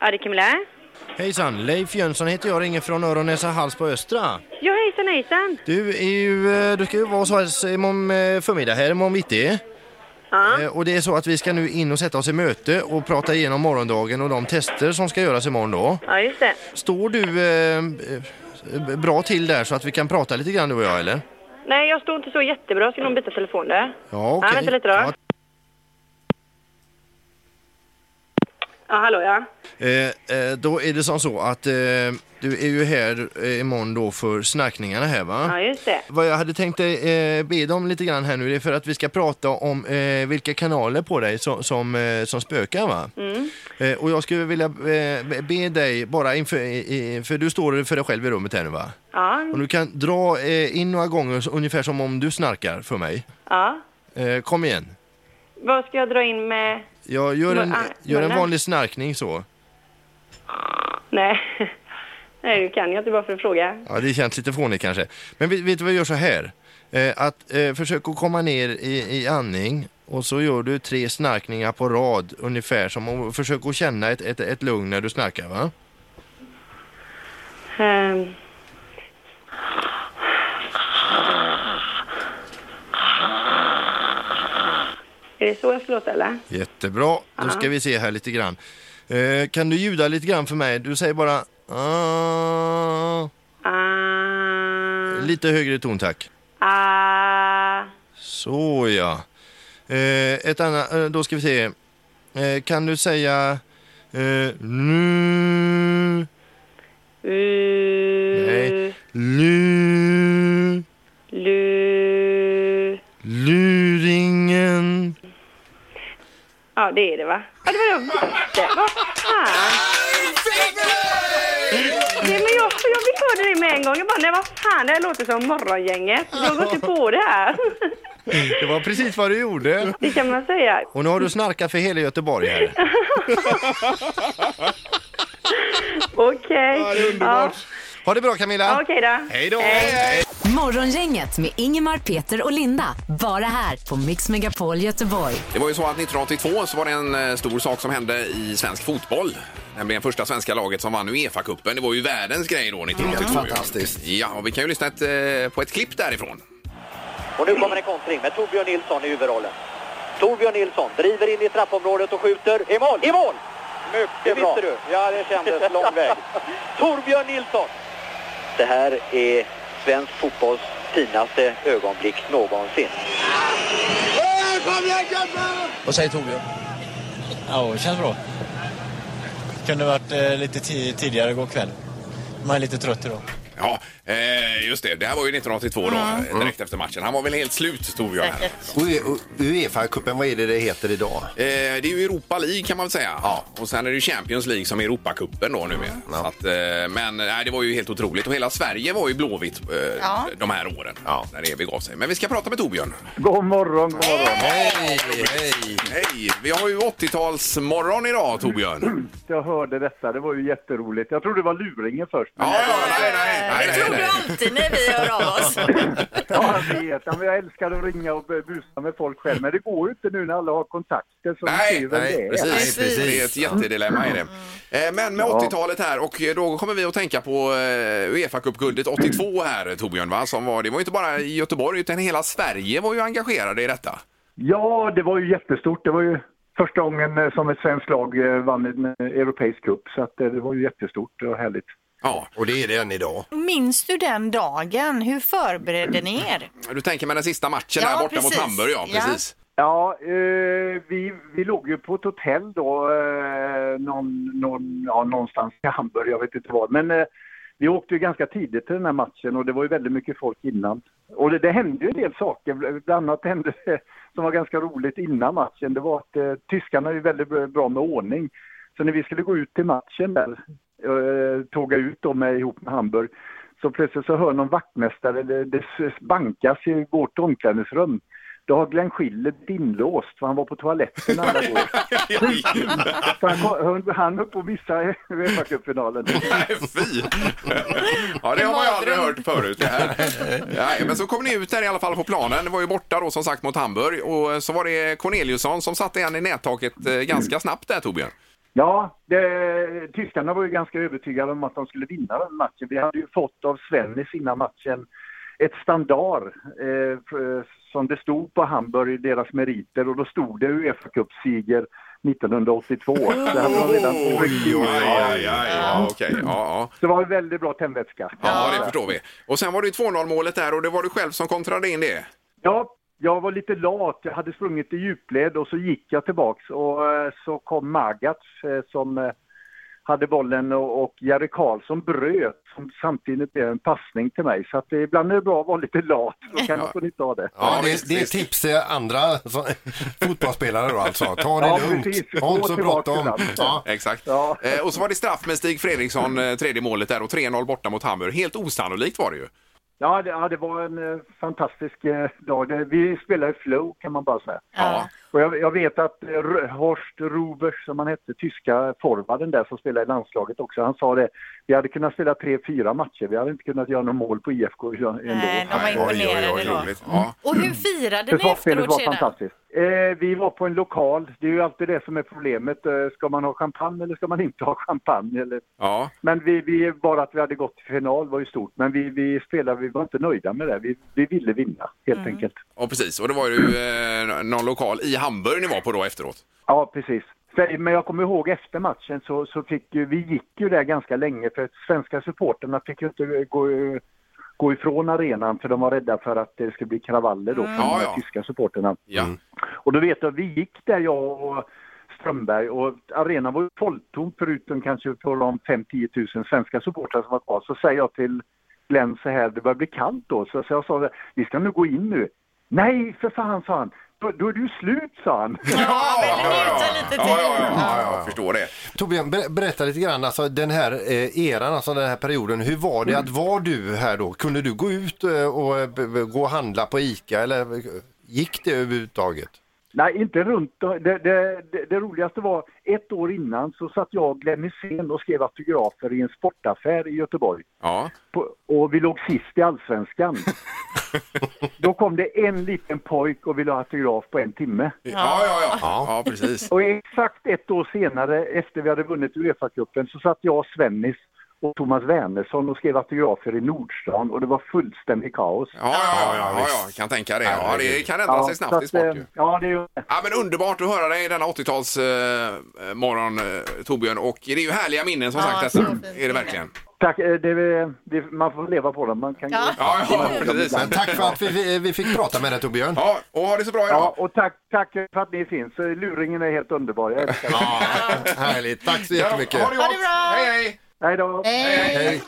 K: Ja, det är Camilla.
L: Hejsan, Leif Jönsson heter jag, ringer från Öronäsa Hals på Östra.
K: Ja, hejsan hejsan.
L: Du, är ju, eh, du ska ju vara hos oss imorgon eh, förmiddag här, imorgon bitti. Eh, Och det är så att vi ska nu in och sätta oss i möte och prata igenom morgondagen och de tester som ska göras imorgon då.
K: Ja, just det.
L: Står du eh, eh, bra till där så att vi kan prata lite grann du och jag eller?
K: Nej, jag står inte så jättebra. Jag ska nog byta telefon där.
L: Ja, okej.
K: Ja, vänta lite då. Ja. hallå ja.
L: Eh, eh, då är det som så att eh, du är ju här eh, imorgon då för snackningarna här va?
K: Ja, just det.
L: Vad jag hade tänkt eh, be dig om lite grann här nu, det är för att vi ska prata om eh, vilka kanaler på dig som, som, eh, som spökar va?
K: Mm.
L: Eh, och jag skulle vilja eh, be- be dig bara inför, i- i- för du står för dig själv i rummet här nu va?
K: Ja.
L: Om du kan dra eh, in några gånger så- ungefär som om du snarkar för mig.
K: ja.
L: Eh, kom igen.
K: Vad ska jag dra in med?
L: Jag gör en,
K: Ah,
L: gör en
K: munnen.
L: vanlig snarkning så.
K: Nej. Nej, du kan jag inte bara för att fråga.
L: Ja, det känns lite fånigt kanske. Men vet, vet du vad jag gör så här? Eh, att eh, försök att komma ner i, i andning och så gör du tre snarkningar på rad ungefär som och försök att känna ett, ett, ett lugn när du snarkar va?
K: Ehm. Är det så jag ska låta eller?
L: Jättebra, då ska
K: Ja.
L: vi se här lite grann. Eh, kan du ljuda lite grann för mig? Du säger bara ah. Lite högre ton tack.
K: Ah.
L: Så ja. Eh, ett annat, eh, då ska vi se. Eh, kan du säga eh, nu? Nej. Lu.
K: Lu.
L: Luringen.
K: Ja, det är det va? Ja, det var jag visste. Vad fan! Nej, men jag, jag fick höra det med en gång. Jag bara, nej vad fan, det här låter som Morgongänget. Jag går inte på det här.
L: Det var precis vad du gjorde.
K: Det kan man säga.
L: Och nu har du snarkat för hela Göteborg här.
K: Okej.
L: underbart. Ha det bra Camilla.
K: Okej då.
L: Hej då.
A: Morgongänget med Ingemar, Peter och Linda. Bara här på Mix Megapol Göteborg.
B: Det var ju så att 1982 så var det en eh, stor sak som hände i svensk fotboll. Nämligen första svenska laget som vann Uefa-cupen. Det var ju världens grej då 1982. Fantastiskt. Ja, och vi kan ju lyssna ett, eh, på ett klipp därifrån.
M: Och nu kommer en kontring med Torbjörn Nilsson i huvudrollen. Torbjörn Nilsson driver in i straffområdet och skjuter. I mål! I mål! Mycket
N: bra.
M: visste du. Ja, det kändes [LAUGHS] lång väg. Torbjörn Nilsson! Det här är svensk fotbolls finaste ögonblick någonsin.
O: Vad säger Torbjörn? Ja, det känns bra. Kunde varit eh, lite ti- tidigare igår kväll. Man är lite trött idag.
B: Ja, eh, just det. Det här var ju 1982 då,
O: Mm.
B: eh, direkt efter matchen. Han var väl helt slut, Torbjörn. här.
C: E- Uefa-cupen, vad är det det heter idag?
B: Eh, det är ju Europa League kan man väl säga. Ja. Och sen är det ju Champions League som är Europacupen då numera. Så att, eh, men nej, det var ju helt otroligt och hela Sverige var ju blåvitt eh,
P: Ja.
B: de här åren. När det begav sig. Men vi ska prata med Torbjörn.
P: God morgon, god morgon.
B: Hej, hej! Hej! Vi har ju 80-talsmorgon idag Torbjörn.
P: Jag hörde detta, det var ju jätteroligt. Jag trodde det var luringen först. Men...
J: Eh, Alltid när vi hör av oss.
P: Ja, jag vet. Ja, men Jag älskar att ringa och busa med folk själv, men det går ju inte nu när alla har kontakter. Så vi ser ju vem det är.
B: precis. Det är ett jättedilemma
J: Mm.
B: i det. Eh, Men med
P: Ja.
B: 80-talet här och eh, då kommer vi att tänka på eh, uefa guldet 82 här eh, Torbjörn. Va? Som var, det var ju inte bara i Göteborg utan hela Sverige var ju engagerade i detta.
P: Ja, det var ju jättestort. Det var ju första gången eh, som ett svenskt lag eh, vann en eh, europeisk cup, så att eh, det var ju jättestort och härligt.
B: Ja,
C: och det är det än idag.
J: [LAUGHS] Minns du den dagen? Hur förberedde ni er?
B: Du tänker med den sista matchen här
J: Ja,
B: borta mot
J: precis.
B: Hamburg, ja
J: Ja. [LAUGHS]
B: precis.
P: Ja, eh, vi, vi låg ju på ett hotell då, eh, någon, någon, ja, någonstans i Hamburg, jag vet inte var. Men eh, vi åkte ju ganska tidigt till den här matchen och det var ju väldigt mycket folk innan. Och det, det hände ju en del saker, bl- bland annat hände det [LAUGHS] som var ganska roligt innan matchen. Det var att eh, tyskarna är ju väldigt bra- bra med ordning. Så när vi skulle gå ut till matchen där, eh, tåga ut dem med, ihop med Hamburg, så plötsligt så hör någon vaktmästare, det, det s- bankas i vårt omklädningsrum. Då har Glenn Schiller inlåst för han var på toaletten alla år. Så han, kom- han höll på att missa Uefa-cupfinalen.
B: Ja, det har man ju aldrig hört förut. Det här. Ja, men så kom ni ut där i alla fall på planen. Det var ju borta då som sagt mot Hamburg och eh, så var det Corneliusson som satte en i nättaket eh, ganska snabbt där Torbjörn.
P: Ja, det, tyskarna var ju ganska övertygade om att de skulle vinna den matchen. Vi hade ju fått av Svennis innan matchen ett standard eh, för- som det stod på Hamburg, i deras meriter, och då stod det Uefa-cupseger 1982. Det hade de redan tryckt in.
B: aj, aj. Ja, okej. Ja, ja.
P: Så det var en väldigt bra tändvätska.
B: ja, det förstår vi. Och sen var det ju 2-0 målet där och det var du själv som kontrade in det.
P: Ja, jag var lite lat. Jag hade sprungit i djupled och så gick jag tillbaks och eh, så kom Magats eh, som eh, hade bollen och och Jerry Karlsson bröt som samtidigt blev en passning till mig. Så att eh, ibland är det bra att vara lite lat, då kan man få nytta av det.
C: Ja, det, det är ett tips till andra som, fotbollsspelare då alltså. Ta det
P: Ja,
C: lugnt.
P: precis.
C: Ha inte så
P: Gå tillbaka
C: bråttom.
P: ibland.
C: Ja.
B: Exakt. Eh, och så var det straff med Stig Fredriksson, eh, tredje målet där och 3-0 borta mot Hamburg. Helt osannolikt var det ju.
P: Ja, det, ja, det var en eh, fantastisk eh, dag. Det, vi spelade i flow kan man bara säga.
B: Ja.
P: Och jag, jag vet att eh, R- Horst Rubers, som han hette, tyska forwarden där som spelade i landslaget också, han sa det, vi hade kunnat spela tre, fyra matcher, vi hade inte kunnat göra något mål på IFK ändå.
J: Nej, de var Nej, oj, Eh, imponerade oj, oj, då. roligt.
B: Ja.
J: Och hur firade ni
P: Försvarsspelet
J: efteråt
P: var
J: sedan?
P: fantastiskt. Eh, vi var på en lokal, det är ju alltid det som är problemet. Eh, ska man ha champagne eller ska man inte ha champagne? Eller...
B: Ja.
P: Men vi, vi, bara att vi hade gått till final var ju stort, men vi, vi spelade, vi var inte nöjda med det. Vi, vi ville vinna, helt enkelt.
B: Ja, precis. Och det var ju eh, någon lokal i Hamburg ni var på då efteråt.
P: Ja, precis. För- Men jag kommer ihåg efter matchen så, så fick ju, vi gick ju där ganska länge för att svenska supporterna fick ju inte gå, gå ifrån arenan för de var rädda för att det skulle bli kravaller då från
B: Mm. Ja,
P: de
B: ja.
P: tyska supporterna.
B: Ja.
P: Och då vet jag, vi gick där jag och Strömberg och arenan var ju folktom förutom kanske på de 5-10 000 svenska supportrar som var kvar. Så säger jag till Glenn så här, det börjar bli kallt då. Så, så jag sa, det, vi ska nu gå in nu. Nej, för fan, sa han. Då, då är det ju slut, sa han. [LAUGHS]
B: ja, jag förstår det.
C: Torbjörn, ber- berätta lite grann, alltså den här eh, eran, alltså den här perioden, hur var det att var du här då? Kunde du gå ut eh, och eh, b- b- gå och handla på ICA eller eh, gick det överhuvudtaget?
P: Nej, inte runt. Det, det, det, det roligaste var ett år innan så satt jag och Glenn Hysén och skrev autografer i en sportaffär i Göteborg.
B: Ja.
P: På, och vi låg sist
B: [LAUGHS]
P: i allsvenskan. Då kom det en liten pojk och ville ha autograf på en timme.
B: Ja, ja, ja. Ja, precis.
P: Och exakt ett år senare, efter vi hade vunnit Uefa-cupen, så satt jag, Svennis och Thomas Wernersson och skrev autografer i Nordstan och det var fullständigt kaos.
B: Ja, ja, ja, ja, ja, kan tänka det. Ja, det kan ändra
P: Ja,
B: sig
P: så
B: snabbt i
P: att,
B: sport
P: eh,
B: ju.
P: Ja, det gör
B: Ja, men underbart att höra dig denna 80-tals eh, morgon, eh, Torbjörn. Och det är ju härliga minnen som
P: Ja,
B: sagt.
P: så
B: Alltså, är det verkligen.
P: Tack, eh, det, det, man får leva på dem. Man kan
B: Ja. Ja, ja, precis.
C: Men tack för att vi- vi, eh, vi fick prata med dig Torbjörn.
B: Ja, och ha det så bra
P: idag. och tack, tack för att ni finns. Eh, Luringen är helt underbar. Jag älskar
C: det. Härligt, tack så jättemycket. Eh,
A: Ha det bra!
B: Hej, hej!
P: Hej då!
C: Hej.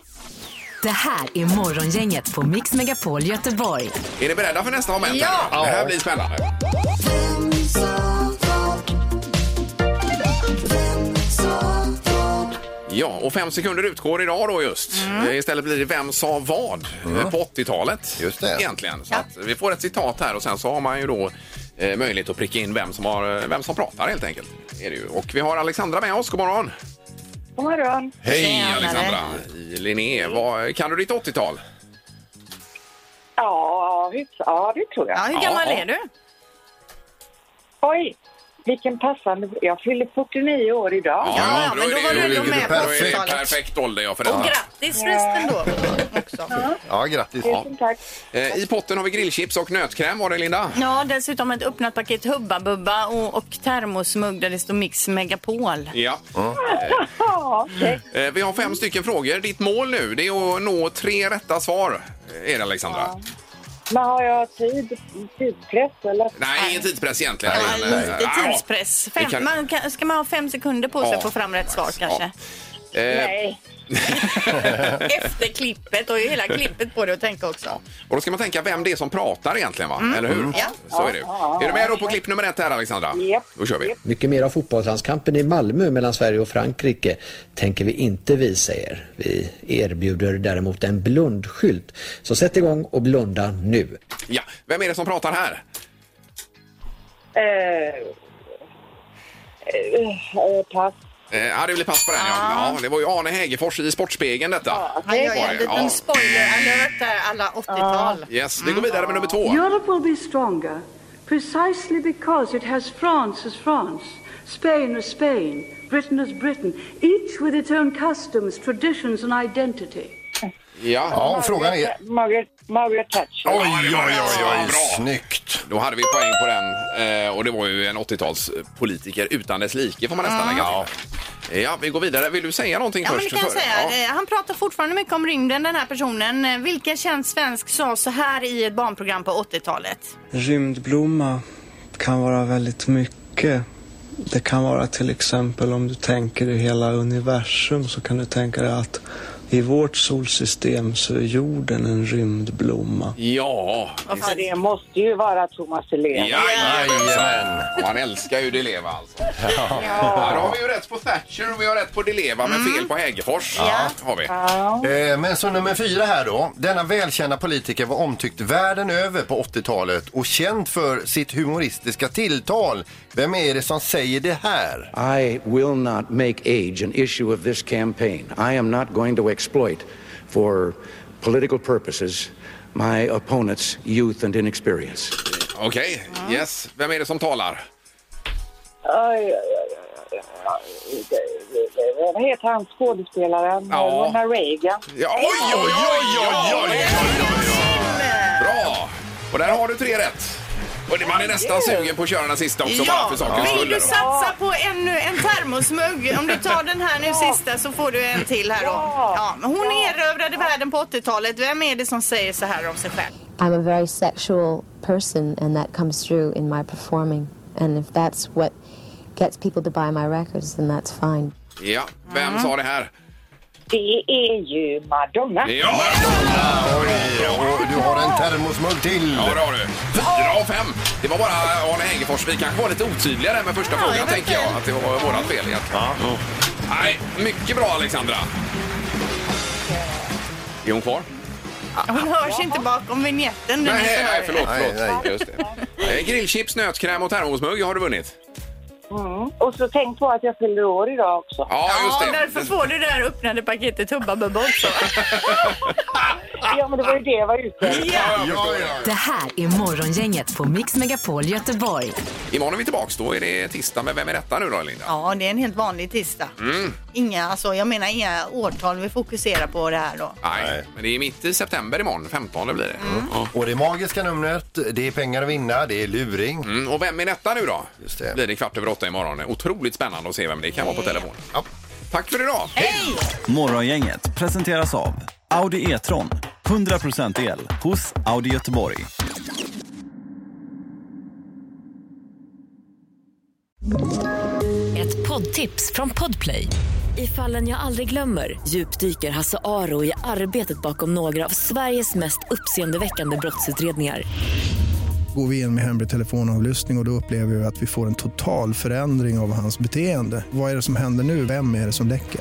A: Det här är Morgongänget på Mix Megapol Göteborg.
B: Är ni beredda för nästa moment?
A: Ja.
B: Det här blir spännande. Ja, och fem sekunder utgår idag då just. Eh, Istället blir det Vem sa vad eh, på 80-talet. Just
C: det.
B: Egentligen. Så att vi får ett citat här och sen så har man ju då eh, möjlighet att pricka in vem som, har, eh, vem som pratar helt enkelt. Är det ju. Och vi har Alexandra med oss, god morgon.
N: God morgon.
B: Hej Alexandra i Linné. Vad, kan du ditt 80-tal?
N: Ja, hyfs- ja, det tror jag.
B: Ja, hur gammal Ja. är
J: du?
N: Oj, vilken passande... Jag fyller 49 år idag.
B: då är det-
N: du ändå
B: ligger
N: med på
B: perfekt. Då är det
N: 80-talet.
B: Perfekt ålder ja, för detta.
J: Grattis förresten då.
C: Ja, grattis.
B: Ja. Eh, I potten har vi grillchips och nötkräm var det Linda.
J: Ja, dessutom ett öppnat paket Hubba Bubba och, och termosmugg där det står Mix Megapol.
B: Ja.
N: Ja, okej.
B: Eh, Vi har fem stycken frågor. Ditt mål nu det är att nå tre rätta svar. eh, Är det Alexandra?
N: Men har jag tid, tidspress eller?
B: Nej, ingen tidspress egentligen.
J: Ja,
B: Men, eh,
J: lite
B: ja.
J: tidspress. Fem,
B: Vi kan-
J: man kan, ska man ha fem sekunder på sig
B: Ja.
J: att få fram rätt svar kanske?
B: Eh, [LAUGHS]
J: Nej. Efter klippet och hela klippet på det att tänka också.
B: Och då ska man tänka vem det är som pratar egentligen, va?
J: Mm.
B: Eller hur?
J: Mm. Ja.
B: Så är det.
J: Ja,
B: Är du med då på klipp nummer ett här, Alexandra? Då kör vi.
Q: Mycket mer av fotbollslandskampen i Malmö mellan Sverige och Frankrike tänker vi inte visa er. Vi erbjuder däremot en blundskylt. Så sätt igång och blunda nu.
B: Ja. Vem är det som pratar här?
N: Eh, eh, eh, pass.
B: Eh, ja, det blir pass på den. Ja. Ja, det var ju Arne Hägerfors i Sportspegeln detta.
J: Han gör ju en
B: Var det?
J: liten spoiler alert där, alla 80-tal.
B: Yes, vi går vidare med nummer två.
R: Europe will be stronger precisely because it has France as France, Spain as Spain, Britain as Britain, each with its own customs, traditions, and identity.
B: Ja,
N: Margaret, Margaret Thatcher.
B: snyggt! Då hade vi poäng på den eh, och det var ju en 80-talspolitiker utan dess like får man nästan
J: Ja.
B: lägga till. Ja, vi går vidare. Vill du säga någonting
J: Ja, men det
B: först?
J: kan jag
B: För-
J: säga. Eh, Han pratar fortfarande mycket om rymden, den här personen. Eh, Vilken känd svensk sa så här i ett barnprogram på 80-talet?
S: Rymdblomma kan vara väldigt mycket. Det kan vara till exempel om du tänker i hela universum så kan du tänka dig att i vårt solsystem så är jorden en rymdblomma.
B: Ja.
N: Ja, det måste ju vara Thomas Helén.
B: Jajamensan! Och han älskar ju Di Leva alltså. Ja. då har vi ju rätt på Thatcher och vi har rätt på Di Leva men fel på Hägerfors. Ja. Har vi.
C: Eh, Men så nummer fyra här då. Denna välkända politiker var omtyckt världen över på 80-talet och känd för sitt humoristiska tilltal. Vem är det som säger det här?
T: I will not make age an issue of this campaign. I am not going to exploit, for political purposes, my opponent's youth and inexperience.
B: Okej, yes. Vem är det som talar?
N: Oj, oj, oj, oj, oj. Vad heter han skådespelaren?
B: Ja.
N: Ronald Reagan.
B: Ja, oj, oj, oj, oj, oj, oj, oj, oj. Bra! Och där har du tre rätt. Och det- man är nästan sugen på att köra den sista också bara för sakens
J: Vill
B: skull.
J: du satsa på ännu en termosmugg? Om du tar den här nu sista så får du en till här då. Ja, men hon erövrade världen på 80-talet. Vem är det som säger så här om sig själv?
U: I'm a very sexual person, and that comes through in my performing. And if that's what gets people to buy my records, then that's fine.
B: Ja, vem
J: Mm.
B: sa det här?
N: Det är ju Madonna.
B: Ja!
C: Oj, och du har en termosmugg till.
B: Ja, det har du. Fyra av fem. Det var bara Arne Hägerfors. Vi kanske var lite otydliga där med första frågan, tänker jag. Att det var vårat fel egentligen. Nej, mycket bra, Alexandra. Är hon kvar?
J: Hon hörs inte bakom vignetten. Den är
B: Nej,
J: så
B: nej,
J: hög.
B: förlåt. förlåt. Just det. Eh, Grillchips, nötkräm och termosmugg har du vunnit.
N: Mm. Och så tänk på att jag fyller år idag också.
B: Ja, just
J: Ja,
B: det.
J: därför får du det här öppnade paketet Hubba Bubba också.
N: Ja, men det var ju det jag var ute efter.
A: Det här är Morgongänget på Mix Megapol Göteborg.
B: Imorgon är vi tillbaka. Då är det tisdag. Men vem är detta nu då, Linda?
J: Ja, det är en helt vanlig tisdag.
B: Mm.
J: Inga, alltså, jag menar inga årtal vi fokuserar på det här då.
B: Nej, men det är mitt i september imorgon. 15 blir det.
N: Mm.
C: Och det magiska numret, det är pengar att vinna, det är luring.
B: Mm, och vem är detta nu då?
C: Just det.
B: Blir det kvart över åtta imorgon. Otroligt spännande att se vem det kan vara på telefon. Ja. Tack för idag!
V: Morgongänget presenteras av Audi E-tron. 100% el hos Audi Göteborg.
W: Ett poddtips från Podplay. I fallen jag aldrig glömmer djupdyker Hasse Aro i arbetet bakom några av Sveriges mest uppseendeväckande brottsutredningar.
X: Går vi in med hemlig telefonavlyssning och, och då upplever vi att vi får en total förändring av hans beteende. Vad är det som händer nu? Vem är det som läcker?